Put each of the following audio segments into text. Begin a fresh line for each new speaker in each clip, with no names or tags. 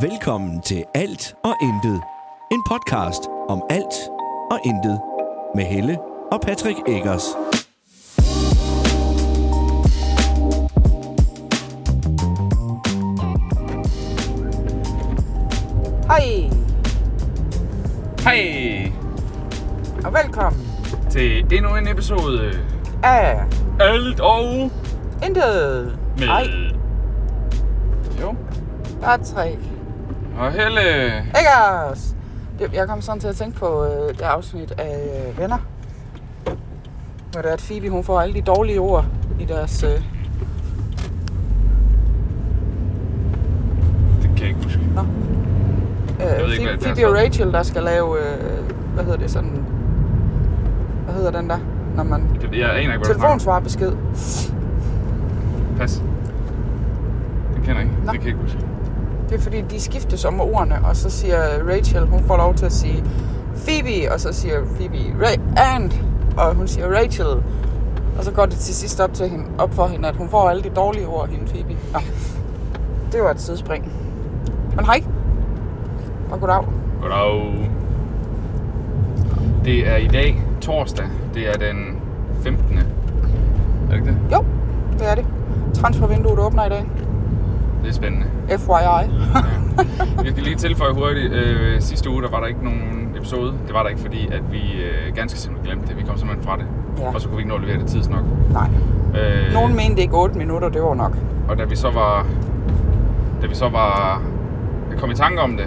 Velkommen til Alt og Intet. En podcast om alt og intet. Med Helle og Patrick Eggers.
Hej,
Hej
og velkommen
til endnu en episode
af
Alt og
Intet
med...
Ej,
Jo.
Patrick
Og Helle.
Eggers. Det- Jeg kom sådan til at tænke på øh, det afsnit af øh, Venner. Hvor det er, at Phoebe hun får alle de dårlige ord i deres... Øh...
Det kan jeg ikke huske.
Jeg
ved ikke, hvad
øh, Phoebe,
det er,
Phoebe og
så.
Rachel, der skal lave... Øh, hvad hedder det sådan... Hvad hedder den der? Når man...
Det, jeg aner ikke, hvad du snakker om.
Telefonsvarbesked.
Pas. Det kender jeg ikke.
Nå.
Det kan jeg ikke huske.
Det er fordi, de skiftes om ordene, og så siger Rachel, hun får lov til at sige Phoebe, og så siger Phoebe Ra- and, og hun siger Rachel. Og så går det til sidst op, til hende, op for hende, at hun får alle de dårlige ord, hende Phoebe. Nå. Det var et sidespring. Men hej. Og goddag.
Goddag. Det er i dag, torsdag. Det er den 15. Er det ikke det?
Jo, det er det. Transfervinduet åbner i dag.
Det er spændende.
FYI.
Jeg skal lige tilføje hurtigt. Øh, sidste uge, der var der ikke nogen episode. Det var der ikke, fordi at vi øh, ganske simpelthen glemte det. Vi kom simpelthen fra det.
Ja.
Og så kunne vi ikke nå at levere det tids nok.
Nej.
Øh,
Nogen mente ikke 8 minutter, det var nok.
Og da vi så var... Da vi så var... kom i tanke om det,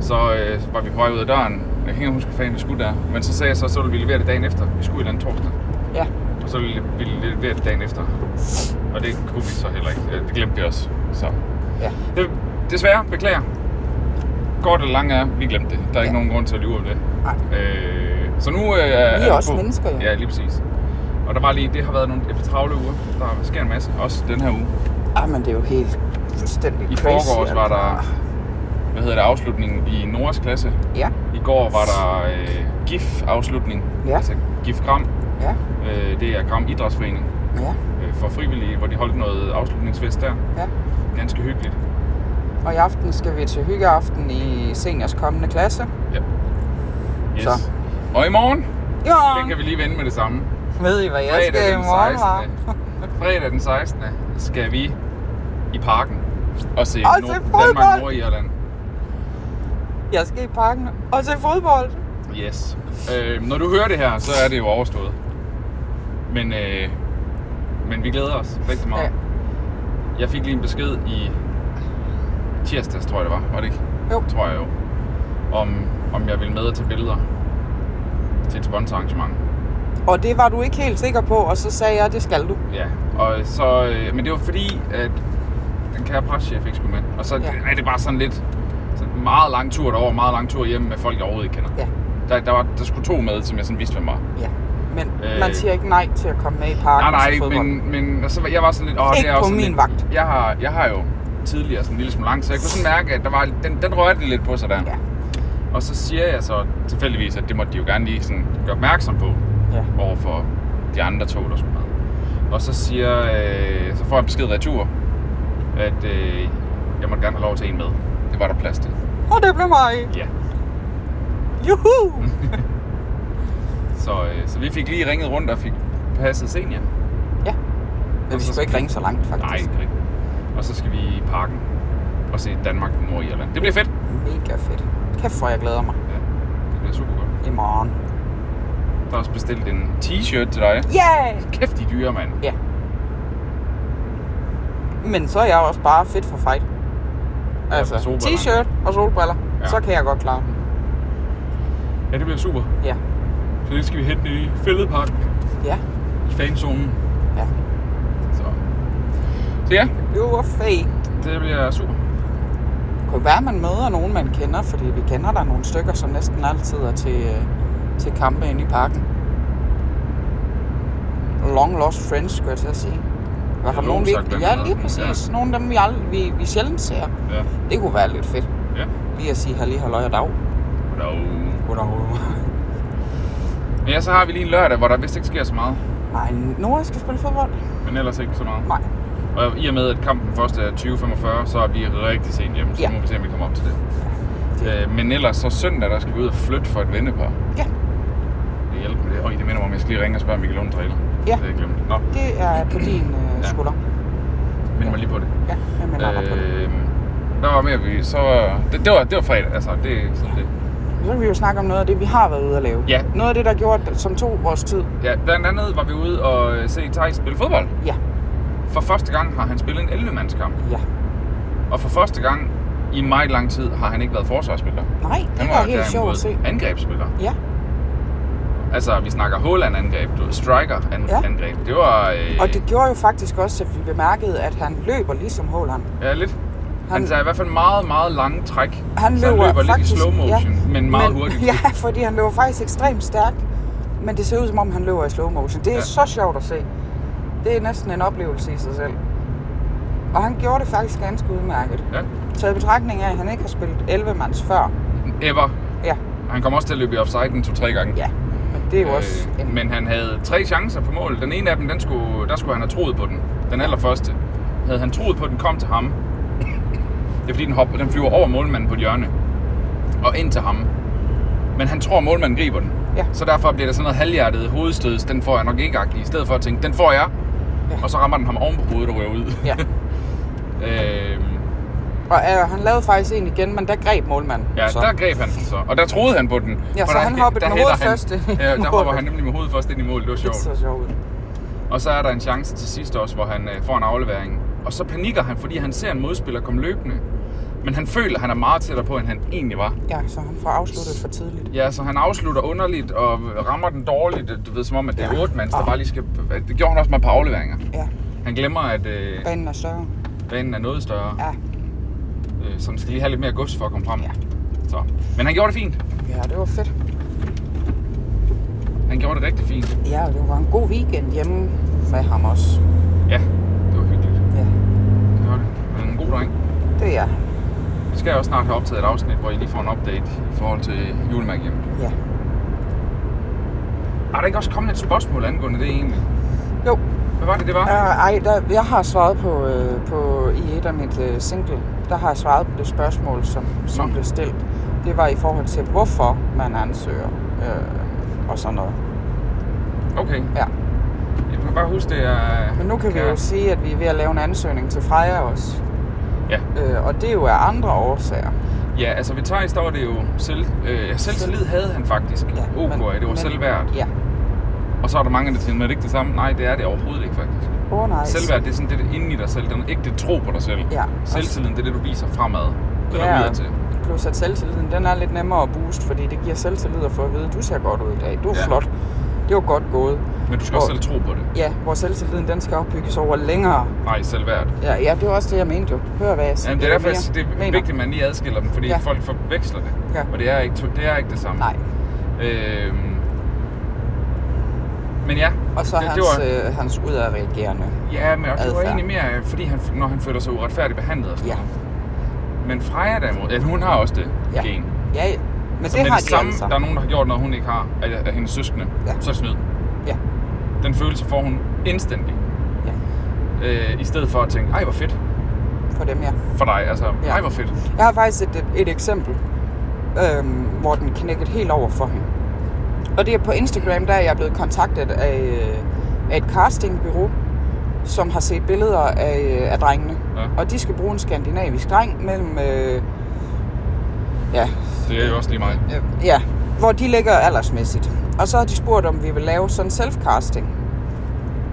så øh, var vi på vej ud af døren. Jeg kan ikke huske, hvad fanden vi skulle der. Men så sagde jeg så, så ville vi levere det dagen efter. Vi skulle et eller andet torsdag.
Ja.
Og så ville vi levere det dagen efter. Og det kunne vi så heller ikke. Øh, Det glemte vi også. Så.
Ja.
Det, desværre, beklager. Kort eller langt er, vi glemte det. Der er ikke
Ja.
nogen grund til at lyve om det.
Nej.
Øh, så nu øh, er
Vi er
vi
også
på.
mennesker, jo.
ja. lige præcis. Og der var lige, det har været nogle efter travle uger. Der sker en masse, også den her uge.
Ah, men det er jo helt fuldstændig
I
crazy.
forgårs var
altså.
der, hvad hedder det, afslutningen i Noras klasse.
Ja,
I går var der øh, GIF-afslutning,
Ja.
altså GIF Gram.
ja,
Øh, det er Gram Idrætsforening
ja,
øh, for frivillige, hvor de holdt noget afslutningsfest der.
ja.
Ganske hyggeligt.
Og i aften skal vi til hyggeaften i seniors kommende klasse.
Ja. Yes.
Så.
Så. Og i morgen,
Jo,
den kan vi lige vende med det samme.
ved I, hvad jeg skal i morgen, var?
fredag den 16. skal vi i parken og se
Og se fodbold!
Danmark Nordirland.
Jeg skal i parken og se fodbold.
Yes. Øh, når du hører det her, så er det jo overstået. Men, øh, men vi glæder os rigtig meget.
Ja.
Ja. Jeg fik lige en besked i tirsdags, tror jeg det var. Var det ikke?
Jo.
Tror jeg jo. Om, om jeg ville med og tage billeder til et sponsorarrangement.
Og det var du ikke helt sikker på, og så sagde jeg, det skal du.
Ja, og så, øh, men det var fordi, at den kære preschef ikke skulle med. Og så
Ja.
ja. er det bare sådan lidt sådan en meget lang tur derover, meget lang tur hjem med folk, jeg overhovedet ikke kender.
Ja.
Der, der, var, der skulle to med, som jeg sådan vidste, hvem var.
Ja. Men øh...
Øh.
man siger ikke nej til at komme med i parken
Nej,
og se
nej,
fodbold.
men, men og så, var- jeg var sådan lidt... Åh,
Ikke
det er
på
også sådan
min
lidt,
vagt.
Jeg har, jeg har jo tidligere sådan en lille smule langt, så jeg kunne sådan mærke, at der var, den, den rørte lidt på sig der.
Ja,
Og så siger jeg så tilfældigvis, at det måtte de jo gerne lige sådan gøre opmærksom på
ja.
over for de andre tog, der skulle med. Og så siger, øh, så får jeg besked retur, at øh, jeg måtte gerne have lov til en med. Det var der plads til.
Og det blev mig.
Ja.
Juhu!
Så, øh, så vi fik lige ringet rundt og fik passet senior.
ja. Men vi skulle ikke ringe så langt,
Nej,
faktisk.
ikke rigtigt. Og så skal vi i parken og se Danmark og Nordirland. Det bliver fedt.
Mega fedt. Kæft, hvor jeg glæder mig
Ja, det bliver super godt.
i morgen.
Der er også bestilt en t-shirt til dig.
Yeah!
Kæft, de er dyre, mand.
Ja. Men så er jeg også bare fedt for fight. Altså,
for solbrillerne.
t-shirt og solbriller, ja.
Ja.
så kan jeg godt klare den.
Ja, det bliver super.
Ja.
Så det skal vi hente i Fælledpark,
Ja.
i fanzonen.
Ja.
Så. så ja,
Jo, og fake.
det bliver super.
Det kunne være, man møder nogen, man kender, fordi vi kender der nogle stykker, som næsten altid er til, øh, til kampe inde i parken. Long lost friends, skulle jeg til at sige. I hvert fald
Ja,
nogen, vi
Lone
ikke...
sagt,
Ja,
hvem
lige
hedder den?
præcis. Ja. Nogle af dem, vi, ald- vi, vi sjældent ser.
Ja.
Det kunne være lidt fedt.
Ja.
Lige at sige, halli, halløj og dag.
Goddag.
Goddag.
Men ja, så har vi lige en lørdag, hvor der vist ikke sker så meget.
Nej, Nora skal spille fodbold.
Men ellers ikke så meget.
Nej.
Og i og med, at kampen først er 20.45, så er vi rigtig sent hjemme, så
Ja.
ja. må vi se, om vi kommer op til det.
Det-
det. Øh, men ellers så søndag, der skal vi ud og flytte for et vennepar.
Ja.
Det hjælper med det. Øj, det minder mig om, jeg skal lige ringe og spørge, om vi kan låne en trailer.
Ja.
Det har jeg glemt. Nå,
Det er på din øh,
Ja.
skulder.
mind mig lige på det.
Ja, jeg melder øh... på det.
Øh, der var mere, vi så... Det, det, var, det var fredag, altså. Det, er sådan det.
Så kan vi jo snakke om noget af det, vi har været ude at lave.
Ja.
Noget af det, der gjorde, som tog vores tid.
Ja, blandt andet var vi ude og øh, se Thijs spille fodbold.
Ja,
For første gang har han spillet en 11-mandskamp.
ja.
Og for første gang i meget lang tid har han ikke været forsvarsspiller.
Nej, det var, helt sjovt at se.
angrebsspiller.
Ja,
Altså, vi snakker Håland-angreb, du ved,
Ja.
striker-angreb. Det var... Øh,
og det gjorde jo faktisk også, at vi bemærkede, at han løber ligesom Håland.
Ja, lidt. Han,
Han-
han tager i hvert fald meget, meget lange træk.
Han
så
løber,
han løber
faktisk,
lidt i slow motion, ja. men meget hurtigt.
Ja, fordi han løber faktisk ekstremt stærkt, men det ser ud som om, han løber i slow motion. Det er ja.
Ja.
så sjovt at se. Det er næsten en oplevelse i sig selv. Og han gjorde det faktisk ganske udmærket.
Ja.
Så i betragtning af, at han ikke har spillet 11-mands før.
Ever.
Ja,
Han kom også til at løbe i offside en to-tre gange.
ja. Men det er jo øh, også
Øh,
en...
men han havde tre chancer på mål. Den ene af dem, den skulle, der skulle han have troet på den. Den allerførste. Havde han troet på, at den kom til ham. Det er fordi, den, hopper, den flyver over målmanden på et hjørne. Og ind til ham. Men han tror, at målmanden griber den.
Ja.
Så derfor bliver der sådan noget halvhjertet hovedstøds. Den får jeg nok ikke agtig. I stedet for at tænke, den får jeg.
Ja.
Ja. Og så rammer den ham oven på hovedet og rører ud.
Ja.
øhm,
Og øh, han lavede faktisk en igen, men der greb målmanden.
Ja,
så.
der greb han den så. Og der troede han på den.
Ja,
for
så
der,
han hoppede
der
med
hælder
hovedet først ind i
Han, ja, der hopper
målet.
han nemlig med hovedet først ind i målet. Det var
det
sjovt.
så sjovt. ud.
Og så er der en chance til sidst også, hvor han øh, får en aflevering. Og så panikker han, fordi han ser en modspiller komme løbende. Men han føler, at han er meget tættere på, end han egentlig var.
Ja, så han får afsluttet for tidligt.
Ja, så han afslutter underligt og rammer den dårligt. Du ved, som om, at det
Ja.
er otte mands, der bare lige skal... Det gjorde han også med et par afleveringer.
Ja,
Han glemmer, at øh,
banen er større.
banen er noget større,
Ja,
øh, så han skal lige have lidt mere gods for at komme frem.
Ja.
Så. Men han gjorde det fint.
ja det var fedt.
Han gjorde det rigtig fint.
Ja, og det var en god weekend hjemme med ham også.
Ja, det var hyggeligt.
Ja,
Det var det. Han er en god dreng.
det er
Vi skal også snart have optaget et afsnit, hvor I lige får en update i forhold til julemærkehjemmet.
Ja.
Er der ikke også kommet et spørgsmål angående det egentlig?
Jo,
Hvad var det, det var? Ja.
øh, ej, der, jeg har svaret på, øh, på i et af mit øh, single, der har jeg svaret på det spørgsmål, som, som
Nå.
blev stillet. Det var i forhold til, hvorfor man ansøger øh, og sådan noget.
Okay.
Ja.
Jeg kan bare huske, det er...
Men nu kan vi
Ja.
jo sige, at vi er ved at lave en ansøgning til Freja også.
Ja.
Øh, og det er jo af andre årsager.
Ja, altså ved Thijs, der var det jo selv... Øh, ja, selvtillid havde han faktisk. Ja, okay, men, det var men, selvværd.
Ja.
Og så er der mange, der siger, men er det ikke det samme? Nej, det er det overhovedet ikke faktisk.
Åh oh, nej.
Altså. Selvværd, det er sådan det, der inde i dig selv. Den ægte tro på dig selv.
Ja.
Selvtilliden, det er det, du viser fremad. Eller
Ja.
ja. udad til.
Plus at selvtilliden, den er lidt nemmere at booste, fordi det giver selvtillid at få at vide, du ser godt ud i dag, du er ja.
Ja.
flot, det var godt gået.
Men du skal også
Og-
selv tro på det.
Ja, hvor selvtilliden, den skal opbygges over længere.
Nej, selvværd.
Ja, ja det var også det, jeg mente jo. Hør, hvad jeg siger.
Jamen, det er derfor, jeg
mere
siger, det er
mener.
vigtigt, at man lige adskiller dem, fordi
Ja.
ja. folk forveksler det.
Ja.
Og det er ikke, det, er ikke det samme.
Nej,
Øhm, men ja,
og så det,
det,
hans,
det var,
øh, hans udadreagerende.
ja, men og det var
adfærd.
egentlig mere, øh, fordi han, når han føler sig uretfærdigt behandlet. Og sådan
Ja.
noget. Men Freja derimod, ja, hun har også det
Ja.
gen.
Ja, ja. men
Så
det
med
har
det samme,
de altså.
der er nogen, der har gjort noget, hun ikke har af, af hendes søskende,
Ja.
så er det snyd.
Ja.
Den følelse får hun instantly.
Ja.
Øh, I stedet for at tænke, ej hvor fedt
For dem, ja.
for dig, altså,
Ja.
ja. ej hvor fedt.
Jeg har faktisk et, et, et eksempel, øhm, hvor den knækkede helt over for hende. Og det er på Instagram, der er jeg blevet kontaktet af, øh, af et castingbureau, som har set billeder af, af drengene.
Ja.
Og de skal bruge en skandinavisk dreng mellem... Øh, ja,
Det er jo også lige mig.
øh, ja, hvor de ligger aldersmæssigt. Og så har de spurgt, om vi vil lave sådan self-casting.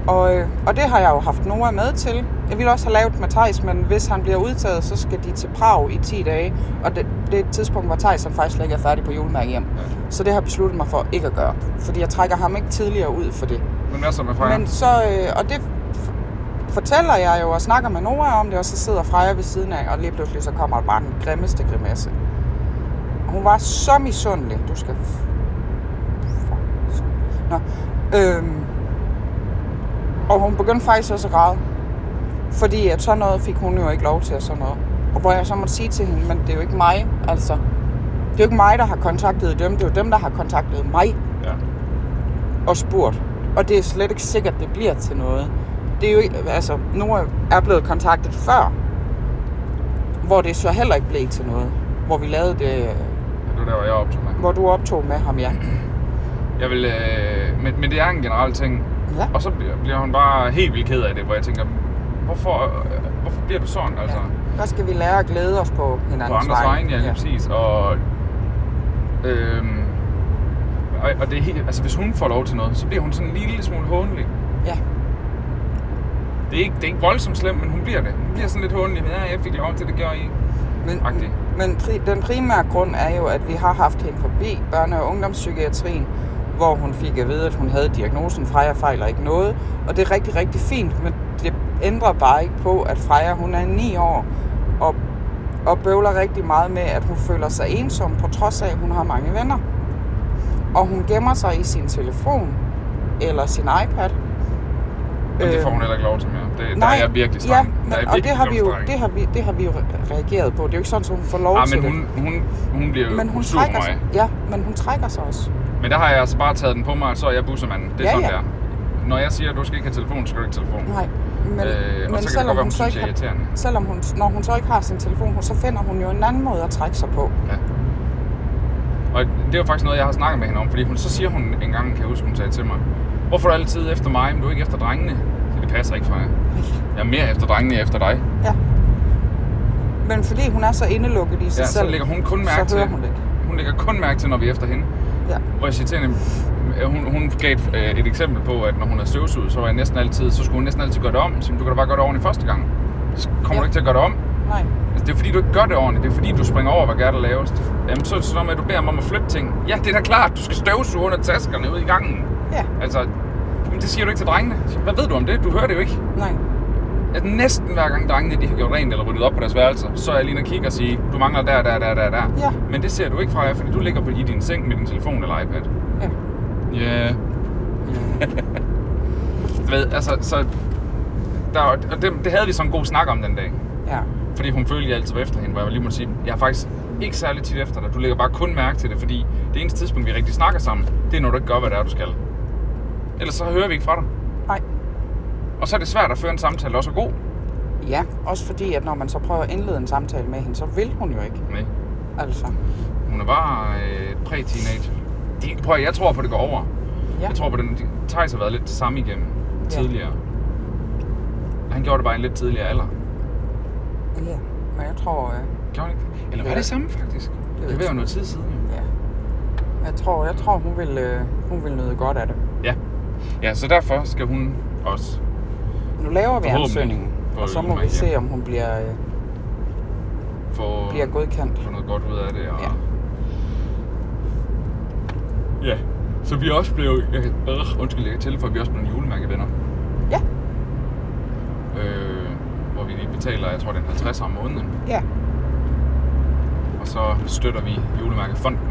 Og, øh, og det har jeg jo haft Noah med til. Jeg ville også have lavet med Thijs, men hvis han bliver udtaget, så skal de til Prag i 10 dage. Og det, det er et tidspunkt, hvor Thijs han faktisk slet ikke er færdig på julemærke hjem. Så det har jeg besluttet mig for ikke at gøre. Fordi jeg trækker ham ikke tidligere ud for det.
Men hvad så med Freja?
Men så, øh, og det f- fortæller jeg jo og snakker med Nora om det, og så sidder Freja ved siden af, og lige pludselig så kommer bare den grimmeste grimasse. Og Hun var så misundelig. Du skal... f- f- Nå. Øhm. Og hun begyndte faktisk også at græde. Fordi at sådan noget fik hun jo ikke lov til, og sådan noget. Og hvor jeg så måtte sige til hende, men det er jo ikke mig, altså. Det er jo ikke mig, der har kontaktet dem. Det er jo dem, der har kontaktet mig
Ja.
og spurgt. Og det er slet ikke sikkert, det bliver til noget. det er jo ikke, altså, Nora er blevet kontaktet før, hvor det så heller ikke blev til noget. Hvor vi lavede det,
Ja, det var der, hvor jeg optog mig.
hvor du optog med ham, ja.
Jeg vil, øh, men, men det er en generel ting.
Ja.
Og så bliver- bliver hun bare helt vildt ked af det, hvor jeg tænker, hvorfor, øh, hvorfor bliver du sådan? Altså,
Der skal vi lære at glæde os på hinandens
på andres vegne, ja, lige præcis. Og, øhm, og, og det er helt, altså, hvis hun får lov til noget, så bliver hun sådan en lille smule hånlig.
ja.
Det er ikke, det er ikke voldsomt slemt, men hun bliver det. Hun bliver sådan lidt hånlig. Ja, jeg fik lov til det, gjorde I. ikke."
Men,
Agtig.
men pri- den primære grund er jo, at vi har haft hende forbi børne- og ungdomspsykiatrien, hvor hun fik at vide, at hun havde diagnosen Freja fejler ikke noget. Og det er rigtig, rigtig fint, men det ændrer bare ikke på, at Freja hun er 9 år og, og bøvler rigtig meget med, at hun føler sig ensom, på trods af, at hun har mange venner. Og hun gemmer sig i sin telefon eller sin iPad.
Men det får
Øhm,
hun heller ikke lov til mere. Det, der er jeg virkelig streng.
Ja,
Der er jeg
men, og det
virkelig
har, vi jo,
streng.
det, har vi, det har vi jo re- reageret på. Det er jo ikke sådan, at hun får lov
Ah,
til
men
det.
hun, hun, hun bliver
Men hun
sur på
trækker sig.
mig.
Ja, men hun trækker sig også.
Men der har jeg altså bare taget den på mig, at så er jeg bussemanden. Det er
Ja,
sådan,
ja.
der. Når jeg siger, at du skal ikke have telefon, så skal du ikke have telefon.
Nej. Men, men
Øh, og så kan det godt
selvom
være,
hun
hun
så
synes,
ikke
jeg er
har,
irriterende.
selvom hun, når hun så ikke har sin telefon, så finder hun jo en anden måde at trække sig på.
Ja. Og det er jo faktisk noget, jeg har snakket med hende om, fordi hun, så siger hun en gang, kan jeg huske, hun sagde til mig, hvorfor er du altid efter mig, men du er ikke efter drengene? Så det passer ikke for mig. Jeg er mere efter drengene, end efter dig.
Ja. Men fordi hun er så indelukket i sig
Ja,
selv,
så lægger hun kun mærke
så hører
til,
hun det. ikke.
hun lægger kun mærke til, når vi er efter hende.
Ja.
Hvor jeg siger til hende, øh, hun, hun gav et, øh, et eksempel på, at når hun havde støvsuget, så var jeg næsten altid, så skulle hun næsten altid gøre det om. Så du kan da bare gøre det ordentligt første gang. Så kommer
Ja.
du ikke til at gøre det om.
Nej.
Altså, det er fordi, du ikke gør det ordentligt. Det er fordi, du springer over, hvad gør der lavest. Jamen, så er det sådan noget med, at du beder mig om at flytte ting. Ja, det er da klart. Du skal støvsuge under taskerne ude i gangen.
Ja.
Altså, men det siger du ikke til drengene. Så Hvad ved du om det? Du hører det jo ikke.
Nej.
Altså, næsten hver gang drengene de har gjort rent eller ryddet op på deres værelser, så er jeg lige inde og kigger og siger, du mangler der, der, der, der, der.
Ja.
Men det ser du ikke fra jer, fordi du ligger på i din seng med din telefon eller iPad.
Ja.
Ja. Yeah. ved, altså, så... Der, og det, det, havde vi sådan en god snak om den dag.
Ja.
Fordi hun følte, at jeg altid var efter hende, hvor jeg lige måtte sige, jeg er faktisk ikke særlig tit efter dig. Du lægger bare kun mærke til det, fordi det eneste tidspunkt, vi rigtig snakker sammen, det er, når du ikke gør, hvad det er, du skal. Ellers så hører vi ikke fra dig.
Nej.
Og så er det svært at føre en samtale, der også er god.
Ja, også fordi, at når man så prøver at indlede en samtale med hende, så vil hun jo ikke.
Nej.
Altså.
Hun er bare øh, præ-teenager. De, prøv, at- jeg tror på, at det går over.
Ja.
Jeg tror på, at den, Thijs har været lidt det samme igennem tidligere. Han gjorde det bare i en lidt tidligere alder.
Ja. Men jeg tror, øh,
Gjorde han ikke det? Eller var
Ja.
det samme, faktisk?
jeg
Det er ved
ikke.
at være noget tid siden, jo.
Ja. Jeg tror, jeg tror hun, vil, øh, hun vil nyde godt af det.
Ja. Ja, så derfor skal hun også
Nu laver vi
Forhåbentlig.
ansøgningen, og så må vi
Forhåbentlig,
se,
ja.
om hun bliver, øh,
få,
bliver godkendt.
få noget godt ud af det. Og...
Ja.
ja. Så vi er også blev... Jeg kan, øh, undskyld, jeg kan tilføje, at vi er også blev julemærkevenner.
Ja,
Øh, hvor vi lige betaler, jeg tror, det er en 50 om måneden.
ja.
Og så støtter vi julemærkefonden.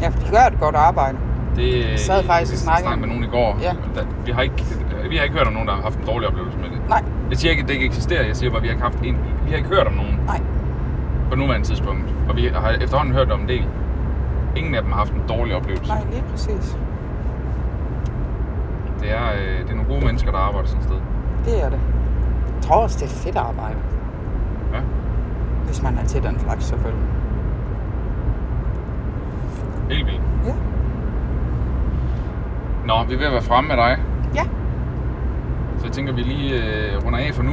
Ja, for de gør et godt arbejde.
Det
Jeg sad faktisk og
jeg
snakkede-
snakkede med nogen i går.
Ja.
Der, vi, har ikke, vi har ikke hørt om nogen, der har haft en dårlig oplevelse med det.
Nej,
Jeg siger ikke, at det ikke eksisterer. Jeg siger bare, at vi har ikke, haft en, vi har ikke hørt om nogen
nej,
på nuværende tidspunkt. Og vi har efterhånden hørt om en del. Ingen af dem har haft en dårlig oplevelse.
nej, lige præcis.
Det er, øh, det er nogle gode mennesker, der arbejder sådan et sted.
Det er det. Jeg tror også, det er fedt arbejde.
Ja.
Hvis man er til den slags, selvfølgelig.
Helt vildt.
Ja.
Nå, vi er ved at være fremme med dig.
Ja.
Så jeg tænker, vi lige øh, runder af for nu.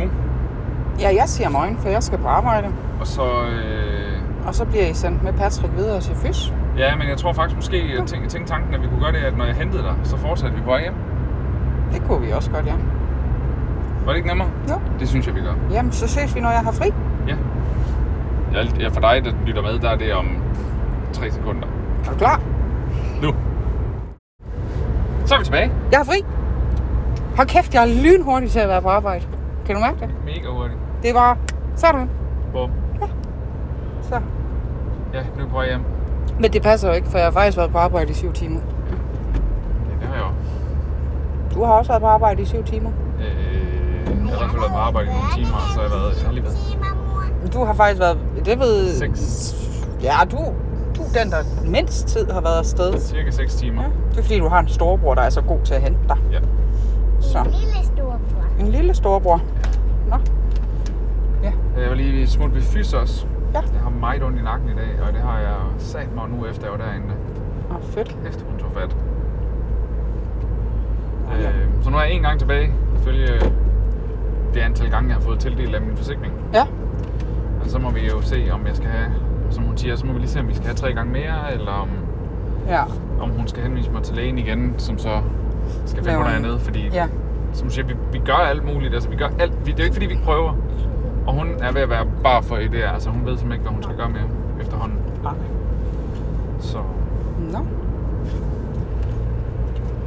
Ja, jeg siger morgen, for jeg skal på arbejde.
Og så... Øh,
Og så bliver I sendt med Patrick videre til Fys.
ja, men jeg tror faktisk måske, jeg tænkte, tænkte tanken, at vi kunne gøre det, at når jeg hentede dig, så fortsatte vi på vej hjem.
Det kunne vi også godt, ja.
Var det ikke nemmere?
Jo.
Det synes jeg, vi gør.
Jamen, så ses vi, når jeg har fri.
Ja. Jeg, jeg for dig, der lytter med, der er det om 3 sekunder.
Er du klar?
Nu. Så er vi tilbage.
Jeg har fri. Hold kæft, jeg er lynhurtig til at være på arbejde. Kan du mærke det?
Mega hurtigt.
Det er bare sådan.
Hvor?
Så.
Ja, nu er vi på vej hjem.
Men det passer jo ikke, for jeg har faktisk været på arbejde i syv timer.
Ja, det har jeg også.
Du har også været på arbejde i syv timer.
Øh, jeg har i hvert fald været på arbejde i nogle timer, og så har jeg været... Jeg har lige været
Men Du har faktisk været... Det ved...
6,
Ja, du, du er den, der mindst tid har været afsted.
cirka 6 timer.
Det er fordi, du har en storebror, der er så god til at hente dig.
Ja.
Så.
En lille stor
En lille storebror. Nå.
Jeg var lige smut ved Fys også.
Ja.
Jeg har meget ondt i nakken i dag, og det har jeg sat mig nu efter, jeg var derinde.
Nå, fedt.
Kæft, hun tog fat.
Ja.
Øh, så nu er jeg en gang tilbage, ifølge det antal gange, jeg har fået tildelt af min forsikring.
Ja.
Og så må vi jo se, om jeg skal have, som hun siger, så må vi lige se, om vi skal have tre gange mere, eller om,
Ja.
om hun skal henvise mig til lægen igen, som så skal finde
Laver
mig
en-
dernede, fordi
Ja.
som du siger, vi, vi gør alt muligt, altså vi gør alt, vi, det er jo ikke fordi, vi ikke prøver. Og hun er ved at være bare for idéer, altså hun ved simpelthen ikke, hvad hun skal gøre med efterhånden. Så
Nå.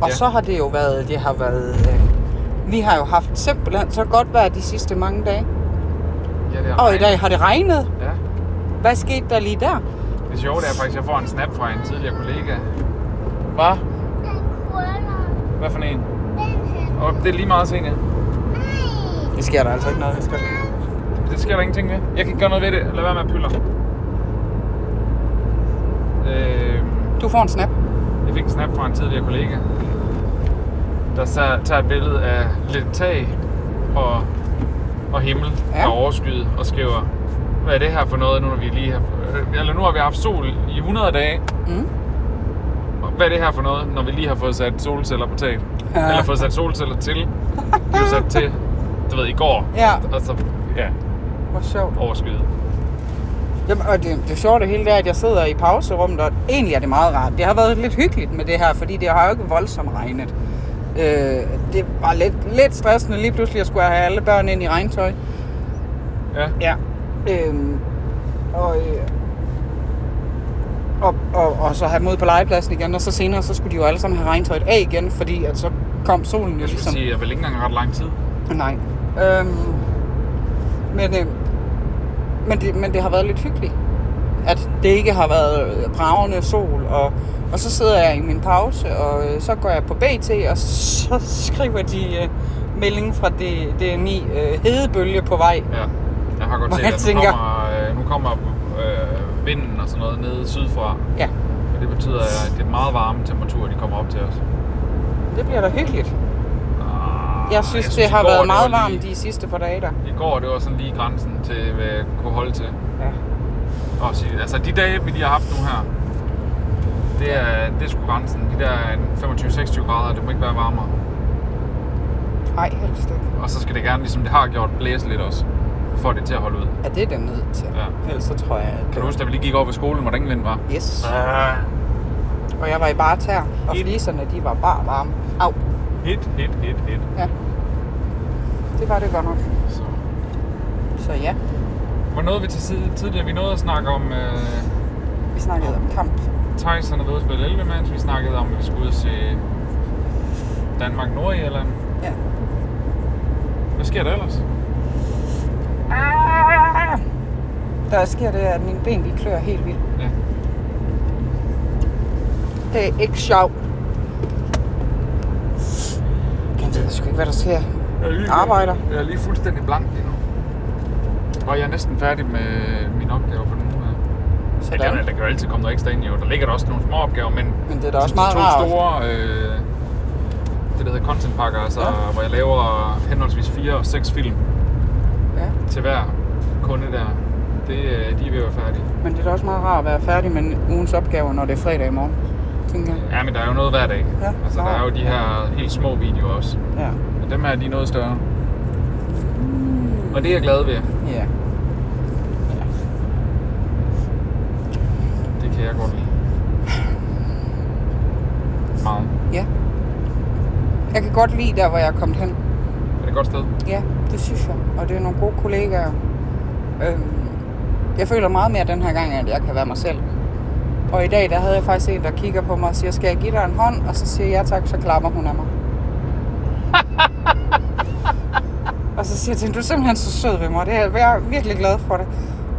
Og
Ja.
så har det jo været, det har været, øh, vi har jo haft simpelthen så godt vejr de sidste mange dage.
ja, det er
Og i dag har det regnet.
Ja.
Hvad skete der lige der?
Det sjove det er faktisk, at jeg får en snap fra en tidligere kollega. Hvad? Hvad for en? Og det er lige meget senere.
Det sker der altså ikke noget, vi skal.
Det sker der ingenting ved. Jeg kan ikke gøre noget ved det. Lad være med at pyller. Øh,
Du får en snap.
jeg fik en snap fra en tidligere kollega, der så, tager et billede af lidt tag og, og himmel, ja.
Ja.
der er overskyet, og skriver, hvad er det her for noget, nu når vi lige har, øh, eller nu har vi haft sol i 100 dage,
Mm.
Og hvad er det her for noget, når vi lige har fået sat solceller på taget? Ja. Eller fået sat solceller til. Det er jo sat til, du ved, i går.
Ja.
Og så, ja,
Hvor sjovt.
overskyet.
Jamen, og det, det sjove af det hele det er, at jeg sidder i pauserummet, og egentlig er det meget rart. Det har været lidt hyggeligt med det her, fordi det har jo ikke voldsomt regnet. Øh, det var lidt, lidt stressende lige pludselig at skulle have alle børn ind i regntøj.
Ja.
Ja. Øhm, og, øh, og, og, og, så have mod på legepladsen igen, og så senere, så skulle de jo alle sammen have regntøjet af igen, fordi at så kom solen jo
Jeg skulle
ligesom...
sige, jeg vil ikke engang ret lang tid.
Nej. Øhm, men, øh, men, det, men det har været lidt hyggeligt, at det ikke har været øh, bragende sol. Og, og så sidder jeg i min pause, og øh, så går jeg på BT, og så skriver de øh, meldingen fra det, det 9 øh, hedebølge på vej.
Ja. Jeg har godt
Hvor
set,
jeg
at nu
tænker-
kommer, øh, nu kommer øh, vinden og sådan noget nede sydfra.
Ja,
Og det betyder, at det er meget varme temperaturer, de kommer op til os.
det bliver da hyggeligt.
Ah,
Jeg synes, det
i
har
går,
været
det
meget
var
varmt de sidste par dage der.
Lige, I går, det var sådan lige grænsen til, hvad jeg kunne holde til.
Ja.
Og sige, altså de dage, vi lige har haft nu her, det er, det er sgu grænsen. De der en 25-26 grader, det må ikke være varmere.
Ej, helst ikke.
Og så skal det gerne, ligesom det har gjort, blæse lidt også, for det til at holde ud.
Ja, det er den nødt til.
Ja.
Ellers så tror jeg, at...
Kan du huske, da vi lige gik over ved skolen, hvordan vinden var?
Yes. Ah. Og jeg var i bare tær, og
Helt-
fliserne, de var bare varme. Au.
Hit, hit, hit, hit.
Ja. Det var det godt nok.
Så.
Så ja,
Hvor nåede vi til side tidligere? Vi nåede at snakke om øh,
vi snakkede om kamp.
Thijs, han er ved at spille 11 mands. Vi snakkede om, at vi skulle ud og se Danmark Nordirland.
Ja.
Hvad sker der ellers?
Ah. Der sker det, at mine ben de klør helt vildt.
Ja.
Det er ikke sjovt. Jeg ved sgu ikke, hvad der sker.
Jeg er lige,
Arbejder.
Jeg er lige fuldstændig blank lige nu. Og jeg er næsten færdig med min opgave for nu. her. Ja, der,
Sådan.
der kan jo altid komme noget ekstra ind i, og der ligger der også nogle små opgaver, men
Men det Ah, er da også
de
meget
to
rart.
store, øh, det der hedder content pakker, altså, ja.
Ja.
hvor jeg laver henholdsvis fire og seks film
Ja.
til hver kunde der, det, øh, de er ved at være færdige.
Men det er da også meget rart at være færdig med ugens opgaver, når det er fredag i morgen. Tænker jeg.
Ja, men der er jo noget hver dag.
Ja,
altså, der
meget.
er jo de her helt små videoer også.
Ja.
Og dem her, de er noget større.
Mm.
Og det er jeg glad ved.
Ja.
Det kan jeg godt lide. Meget.
Ja. Jeg kan godt lide der, hvor jeg er kommet hen.
Er det et godt sted?
Ja, det synes jeg. Og det er nogle gode kollegaer. Øhm, jeg føler meget mere den her gang, at jeg kan være mig selv. Og i dag, der havde jeg faktisk en, der kigger på mig og siger, skal jeg give dig en hånd? Og så siger jeg ja tak, så klapper hun af mig. og så siger jeg til hende, du er simpelthen så sød ved mig. Det er, jeg er virkelig glad for det.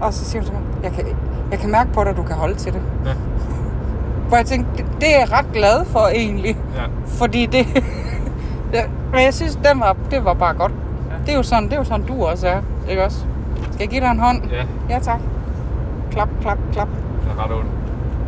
Og så siger hun til mig, jeg kan, jeg kan mærke på dig, du kan holde til det.
Ja.
Hvor jeg tænkte, det, det er jeg ret glad for egentlig.
Ja.
Fordi det... Ja, Men jeg synes, den var, det var bare godt.
Ja.
Ja. Det, er jo sådan, det er jo sådan, du også er. Ikke også? Skal jeg give dig en hånd?
Ja,
Ja, tak. Klap, klap, klap.
det er ret ondt.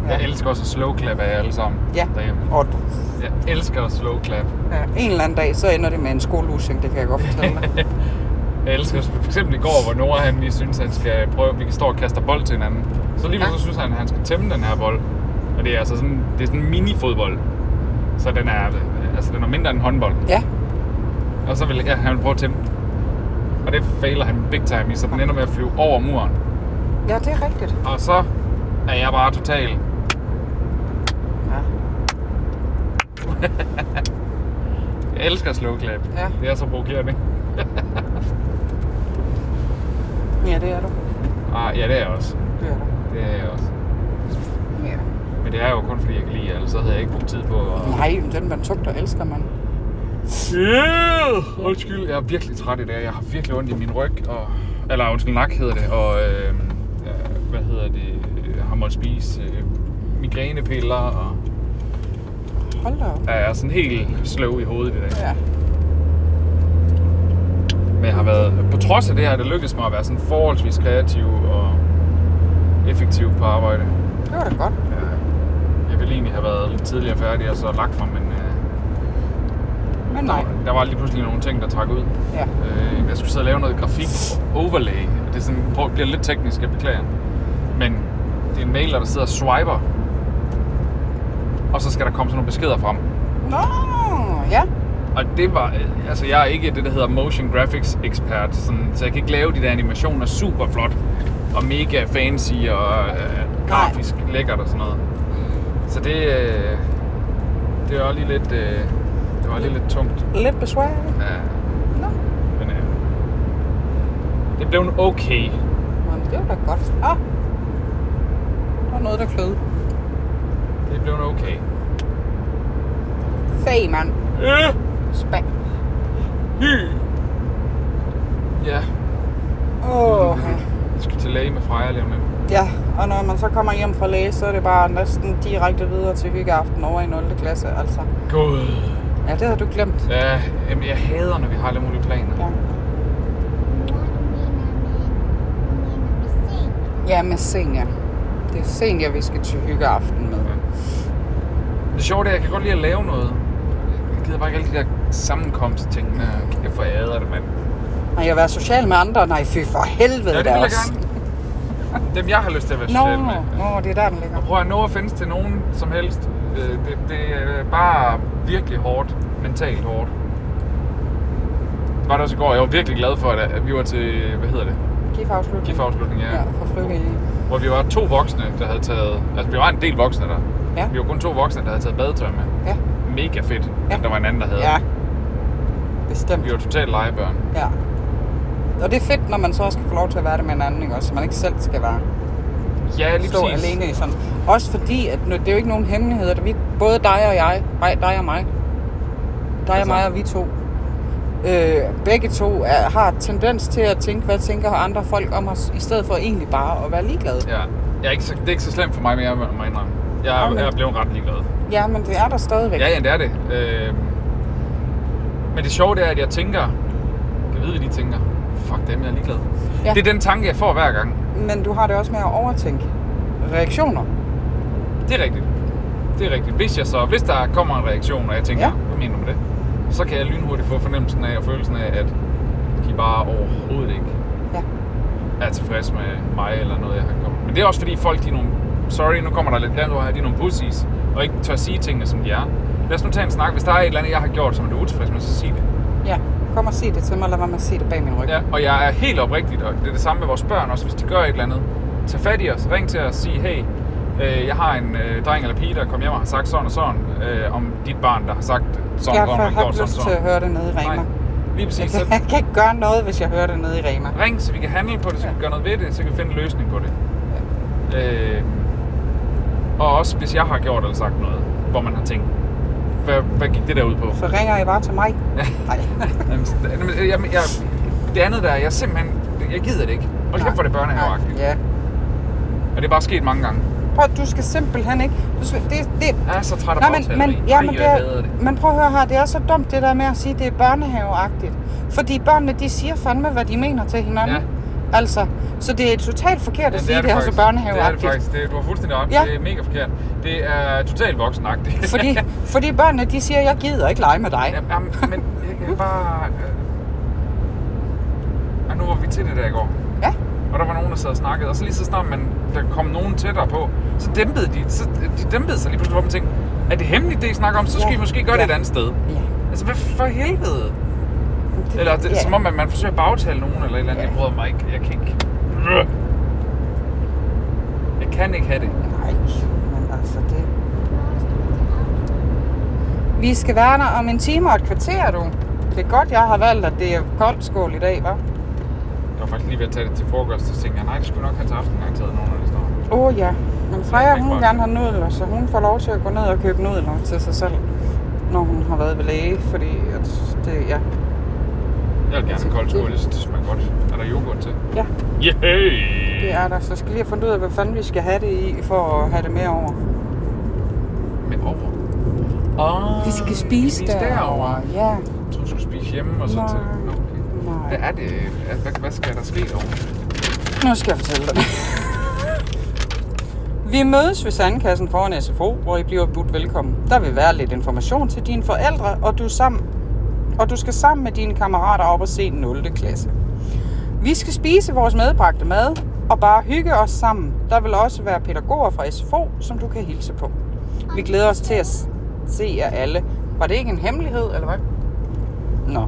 Ja. Jeg elsker også at slow clap af jer alle sammen
Ja.
derhjemme.
Og du.
Jeg elsker at slow clap.
Ja, en eller anden dag, så ender det med en skolelusing, det kan jeg godt fortælle dig.
Jeg elsker også- for eksempel i går, hvor Nora han lige synes, han skal prøve, vi kan stå og kaste bold til hinanden. Så lige
Ja.
ja. så synes han, at han skal tæmme den her bold. Og det er altså sådan, det er sådan en mini-fodbold. Så den er, altså den er mindre end en håndbold.
ja,
Og så vil ja, han vil prøve at tæmme den. Og det fejler han big time i, så den ender med at flyve over muren.
ja, det er rigtigt.
Og så er jeg bare total.
Ja.
Jeg elsker slow clap.
Ja.
Det er så provokerende.
ja, det er du.
Ah, ja, det er jeg også.
Det er du.
Det er jeg også.
Ja.
Men det er jo kun fordi, jeg kan lide jer, ellers så havde jeg ikke brugt tid på at...
Nej, men den man tugter, elsker man.
Yeah! Undskyld, jeg er virkelig træt i dag. Jeg har virkelig ondt i min ryg, og... Eller undskyld, nak hedder det, og... Øh, øh, hvad hedder det? Jeg har måttet spise øh, migrænepiller, og
Hold da op.
jeg er sådan helt sløv i hovedet i dag.
Ja.
Men jeg har været, på trods af det her, det lykkedes mig at være sådan forholdsvis kreativ og effektiv på arbejde.
Det var da godt.
Øh, Jeg ville egentlig have været lidt tidligere færdig og så lagt mig, men øh,
Men nej.
der var lige pludselig nogle ting, der trak ud.
Ja.
Øh, Jeg skulle sidde og lave noget grafik overlay. Det er sådan, prøv- bliver lidt teknisk, jeg beklager. Men det er en mailer, der sidder og swiper. Og så skal der komme sådan nogle beskeder frem.
Nå, ja.
Og det var, øh, altså jeg er ikke det, der hedder motion graphics expert, sådan, så jeg kan ikke lave de der animationer super flot og mega fancy og øh, grafisk lækkert og sådan noget. Så det, øh, det var lige lidt, øh, det var lige lidt tungt.
Lidt besværligt.
Ja,
Nå,
men øh, det blev en okay.
men det var da godt. Ah. Der var noget, der klød.
Det blev en okay.
Fag, mand.
Øh.
Spag.
Ja,
Åh, oh, ja.
jeg skal til læge med Freja lige om lidt.
Ja, og når man så kommer hjem fra læge, så er det bare næsten direkte videre til hyggeaften over i 0. klasse, altså.
God.
Ja, det har du glemt.
Ja, jamen, jeg hader, når vi har alle mulige planer.
Ja, ja med senior. Det er senior, vi skal til hyggeaften med.
Det sjove det er, at jeg kan godt lide at lave noget. Jeg gider bare ikke alle de der sammenkomstting. der. Jeg foræder det, mand.
Og jeg være social med andre? Nej, fy for helvede
Ja, det vil
da
jeg
også.
gerne. Dem, jeg har lyst til at være
Nå,
social med.
nå, det er der, den ligger.
Og prøv at nå at findes til nogen som helst. Øh, Det, det er bare virkelig hårdt. Mentalt hårdt. Det var det også i går. Jeg var virkelig glad for, at at vi var til, hvad hedder det?
Gifafslutning.
GIF-afslutning, ja.
Ja, for frivillige.
Hvor vi var to voksne, der havde taget... Altså, vi var en del voksne der.
Ja.
Vi var kun to voksne, der havde taget badetøj med.
Ja,
Mega fedt,
Ja.
at der var en anden, der havde.
ja. Bestemt.
Vi var totalt legebørn.
Ja. Og det er fedt, når man så også skal få lov til at være det med en anden, ikke? også? Så man ikke selv skal være
Ja, lige
stå
præcis.
alene i sådan. Også fordi, at nu, det er jo ikke nogen hemmelighed, at vi, både dig og jeg, nej, dig og mig, dig og
Altså?
mig og vi to, øh, begge to er, har tendens til at tænke, hvad tænker andre folk om os, i stedet for egentlig bare at være ligeglade.
Ja. Jeg er ikke så, det er ikke så slemt for mig mere, må jeg indrømme. Jeg
Okay.
er, jeg er blevet ret ligeglad.
Ja, men det er der stadigvæk.
Ja, ja, det er det. Øh, men det sjove det er, at jeg tænker... Jeg ved, hvad de tænker. Fuck dem, jeg er ligeglad.
Ja.
Ja. Det er den tanke, jeg får hver gang.
Men du har det også med at overtænke reaktioner.
Det er rigtigt. Det er rigtigt. Hvis, jeg så, hvis der kommer en reaktion, og jeg tænker,
Ja.
ja. hvad mener du med det? Så kan jeg lynhurtigt få fornemmelsen af og følelsen af, at de bare overhovedet ikke
Ja.
er tilfredse med mig eller noget, jeg har gjort. Men det er også fordi folk, de er nogle, sorry, nu kommer der lidt land over her, de er nogle pussies, og ikke tør sige tingene, som de er. Lad os nu tage en snak. Hvis der er et eller andet, jeg har gjort, som du er utilfreds med, så sig det.
Ja, kom og sig det til mig, lad være med at sige det bag min ryg.
Ja, og jeg er helt oprigtigt, og det er det samme med vores børn også, hvis de gør et eller andet. Tag fat i os, ring til os, sig, hey, øh, jeg har en øh, dreng eller pige, der kom hjem og har sagt sådan og sådan, øh, om dit barn, der har sagt sådan,
jeg
og
har
sådan, og
haft
gjort sådan,
lyst til at
sådan.
høre det nede i Rema.
Nej, lige
Jeg
præcis.
kan,
Så
jeg Altså, kan ikke gøre noget, hvis jeg hører det nede i Rema.
ring, så vi kan handle på det, så vi kan gøre noget ved det, så vi kan finde en løsning på det. Øh, og også hvis jeg har gjort eller sagt noget, hvor man har tænkt, hvad, hvad gik det der ud på?
Så ringer I bare til mig. Nej.
Jamen, så- jamen, jeg, jeg, det andet der, jeg simpelthen, jeg gider det ikke. Og kæft for det børnehaveagtigt.
Ja.
Og det er bare sket mange gange.
Prøv, at- du skal simpelthen ikke... Du skal, det, det,
Jeg er så træt af
Nej, men,
bagtaleri.
men, ja, men,
Ej,
det
jeg hader
er,
det.
men prøv at høre her, det er så dumt det der med at sige, at det er børnehaveagtigt. Fordi børnene, de siger fandme, hvad de mener til hinanden.
Ja.
Altså, så det er totalt forkert at
Men
sige, det, det er så
Det er det
børnehaveagtigt.
faktisk. Det, du har fuldstændig ret.
Ja.
Ja. Det er mega forkert. Det er totalt voksenagtigt.
fordi, fordi børnene, de siger, jeg gider ikke lege med dig.
Ja, jamen, men jeg kan bare... Øh... Og nu var vi til det der i går,
Ja,
og der var nogen, der sad og snakkede, og så lige så snart man, der kom nogen tættere på, så dæmpede de, så, de dæmpede sig lige pludselig, hvor man tænkte, er det hemmeligt, det I snakker om, så skal
Ja.
I måske gøre det
Ja.
et andet sted.
ja.
Altså, hvad for helvede? Eller det,
ja.
yeah. som om, at man forsøger at bagtale nogen eller et eller andet.
Ja.
Jeg bryder mig ikke. Jeg kan ikke. Øh. Jeg kan ikke have det.
Nej, men altså det... Vi skal være der om en time og et kvarter, du. Det er godt, jeg har valgt, at det er koldt skål i dag, hva'?
Jeg var faktisk lige ved at tage det til frokost, og så tænkte jeg, nej, det skulle nok have til aften, garanteret nogen af det står.
Åh oh, ja, men
Det
Freja
er
hun vil
godt.
gerne have nudler, så hun får lov til at gå ned og købe nudler til sig selv, når hun har været ved læge, fordi at det, ja,
Jeg vil gerne have kold
Det-
skål, jeg synes, det smager godt. Er der yoghurt til?
ja,
Yeah!
det er der. Så skal jeg lige have fundet ud af, hvad fanden vi skal have det i, for at have det med over.
Med over.
Ah,
Oh, derovre.
Ja,
Jeg tror, du skulle spise hjemme og så
Nej.
til. Nå, Okay. Hvad
nej.
er det? Altså, Hvad, hvad skal der ske derovre?
Nu skal jeg fortælle dig. Vi mødes ved sandkassen foran SFO, hvor I bliver budt velkommen. Der vil være lidt information til dine forældre, og du, sammen, og du skal sammen med dine kammerater op og se 0. klasse. Vi skal spise vores medbragte mad og bare hygge os sammen. Der vil også være pædagoger fra SFO, som du kan hilse på. Vi glæder os til at s- se jer alle. Var det ikke en hemmelighed, eller hvad? Nå.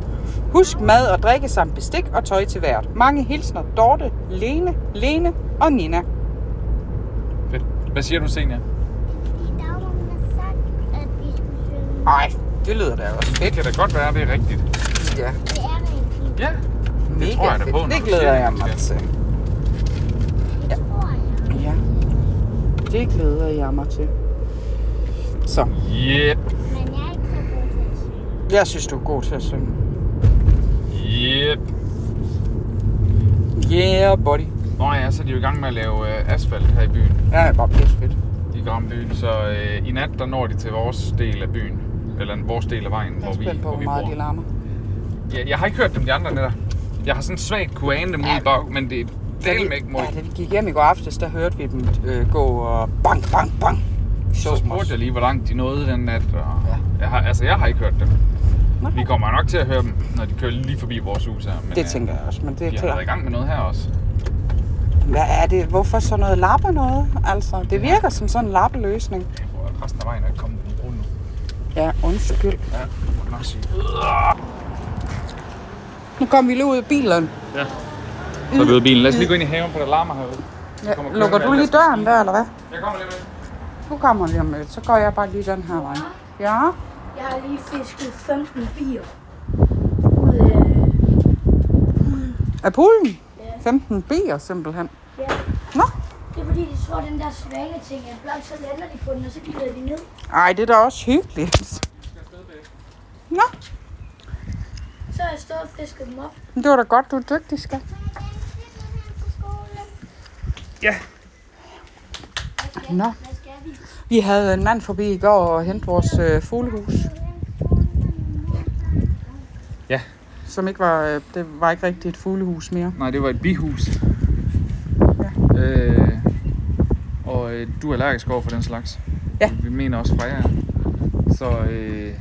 Husk mad og drikke samt bestik og tøj til hvert. Mange hilsner Dorte, Lene, Lene og Nina.
Fedt. Hvad siger du, Senia?
I dag har man sagt, at vi skulle synge.
Ej, det lyder da også
Det
fedt.
kan da godt være, det er rigtigt.
Ja,
Det er rigtigt.
Ja, det
mega
tror jeg da
fedt.
på. når
Det
du
glæder
siger
jeg
det.
mig til.
Det tror jeg.
Ja, det glæder jeg mig til. Så,
Yep,
Men jeg er ikke så god til at synge.
jeg synes, du er god til at synge.
yep.
Yeah, buddy.
Nå ja, så er de jo i gang med at lave øh, asfalt her i byen,
Ja, det er bare pisse fedt.
i Grambyen. Så øh, i nat, der når de til vores del af byen. Eller vores del af vejen,
Jeg
hvor
er
vi,
spændt på,
hvor
hvor
vi
meget de
bor.
larmer.
Jeg, jeg har ikke hørt dem de andre netter. Jeg har sådan svagt kunne ane dem ude i bag, men det er del med ikke
Ja,
mod.
da vi gik hjem i går aftes, der hørte vi dem øh, gå og bang, bang, bang. Vi så
Så
dem
spurgte
også.
jeg lige, hvor langt de nåede den nat. Og
Ja.
jeg har, altså, jeg har ikke hørt dem.
Nej.
Vi kommer nok til at høre dem, når de kører lige forbi vores hus her. Men, øh,
Det tænker jeg også, men det er
De har været
klart.
i gang med noget her også.
Hvad er det? Hvorfor så noget lapper noget? Altså, det virker som sådan en lappeløsning.
Jeg tror, at resten af vejen er ikke kommet på den nu.
Ja, undskyld.
Ja, må jeg nok sige.
Nu kom vi lige ud af bilen.
Ja. Så er vi ude af bilen. Lad os lige gå ind i haven, for der larmer herude.
Ja,
Kommer
lukker
kørende
du
med
lige
lastbil.
døren der, eller hvad?
Jeg kommer lige med.
Nu kommer vi om lidt, så går jeg bare lige den her vej. Ja,
Jeg har lige fisket 15 bier ud øh, af...
af poolen.
Ja.
15 bier simpelthen.
Ja.
Nå,
Det er fordi, de tror, den der svane ting er blot, så lander de på den, og så glider de ned.
ej, det er da også hyggeligt. Nå,
Så har jeg stået og fisket dem op.
men det var da godt, du er dygtig, skat. Nå,
Hvad skal vi?
vi havde en mand forbi i går og hente vores øh, fuglehus,
Ja.
som ikke var, øh, det var ikke rigtigt et fuglehus mere.
Nej, det var et bihus. Ja. Øh, og øh, du er allergisk over for den slags.
Ja.
Vi mener også Freja. er. Så, øh,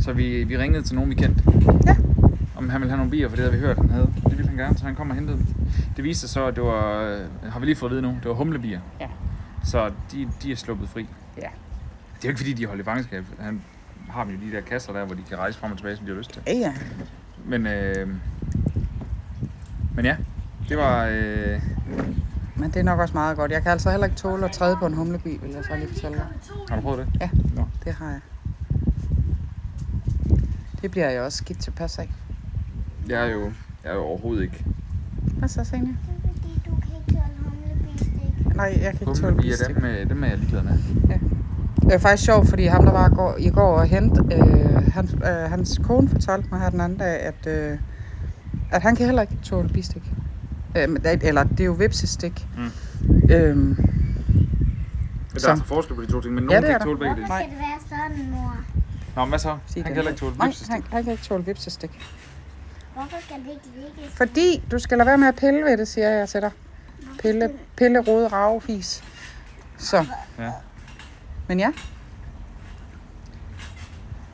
så vi, vi ringede til nogen, vi kendte.
Ja.
Om han ville have nogle bier, for det havde vi hørt, han havde. Det ville han gerne, så han kom og hentede dem. Det viste sig så, at det var, øh, har vi lige fået at vide nu, det var humlebier.
Ja.
Så de, de er sluppet fri.
Ja.
Det er jo ikke fordi, de holder i fangenskab. Han har dem jo i de der kasser der, hvor de kan rejse frem og tilbage, som de har lyst til.
Ja, ja.
Men, øh, men ja, det var... Øh,
Men det er nok også meget godt. Jeg kan altså heller ikke tåle at træde på en humlebi, vil jeg så lige fortælle dig.
har du prøvet det?
Ja.
Nå.
Det har jeg. Det bliver jeg også skidt tilpas af.
Jeg er jo, jeg er jo overhovedet ikke.
Hvad så, Senja?
Det er fordi, du kan ikke tåle humlebistik.
Nej, jeg kan ikke tåle
Humlebier,
bistik.
dem, øh, dem er jeg ligeglad med.
Det er faktisk sjovt, fordi ham, der var i går, i går og hente, øh, han, øh, hans kone fortalte mig her den anden dag, at, øh, at han kan heller ikke tåle bistik. Øh, men det- eller det er jo vipsestik.
Mm.
Øhm,
Men
Så.
der er altså forskel på de to ting, men
Ja,
nogen
det
kan
er
ikke tåle begge
Hvorfor
dele.
skal det være sådan, mor?
Nå, men hvad så? Han
sig
kan
den.
heller ikke tåle
Nej,
vipsestik.
han, han kan ikke tåle vipsestik.
Hvorfor skal vi ikke ligge?
Fordi du skal lade være med at pille ved det, siger jeg til dig. Pille, pille rode, rave, fis. Så.
Ja.
Men ja.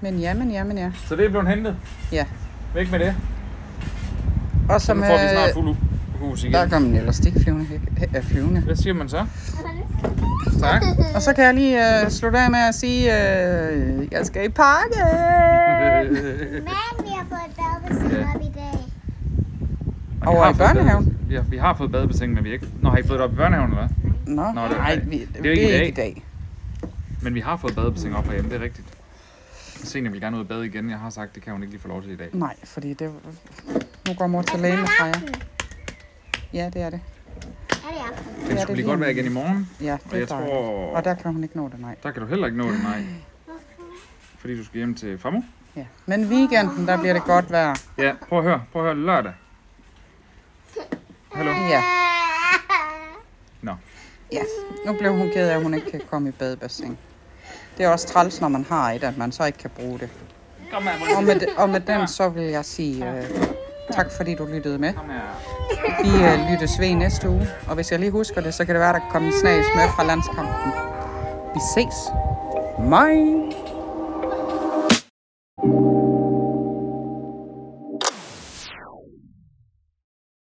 Men ja, men ja, men ja.
Så det er blevet hentet.
Ja.
Væk med det.
Og
Så
som,
nu får vi
øh,
snart fuld hus igen.
Der kom en elastik flyvende. hæk- øh, flyvende.
Hvad siger man så? Tak.
Og så kan jeg lige øh, slutte af med at sige, øh, jeg skal i parken.
Øh,
Men vi har fået et badebassin
Ja.
op i dag.
Og vi
Over
har
i
fået
børnehaven?
bade- Vi har, vi har fået badebassin, men vi har ikke... Nå, har I fået det op i børnehaven, eller hvad?
Nå,
Nå, det er
nej,
okay.
vi,
Det er jo
det er
ikke i
ikke
dag.
i dag.
Men vi har fået badebassin op herhjemme, det er rigtigt. Senior vil gerne ud og bade igen. Jeg har sagt, det kan hun ikke lige få lov til i dag.
Nej, fordi det... Nu går mor til lægen med Freja. Ja, det er det.
Er det aften?
Den
det
skulle
er
lige godt
lige-
være igen i morgen.
Ja,
Og
det er dejligt.
jeg tror-
Og der kan hun ikke nå det, nej.
Der kan du heller ikke nå det, nej. Fordi du skal hjem til Famo.
Ja. Men weekenden, der bliver det godt vejr.
Ja, prøv at høre. Prøv at høre lørdag. Hallo.
Ja.
Nå.
Ja, nu blev hun ked af, at hun ikke kan komme i badebassin. Det er også træls, når man har et, at man så ikke kan bruge det.
Kom her,
Og med, og med den, så vil jeg sige øh, tak, fordi du lyttede med.
Kom her.
Vi øh, lyttes ved i næste uge, og hvis jeg lige husker det, så kan det være, der kommer en snas med fra landskampen. Vi ses. Mine.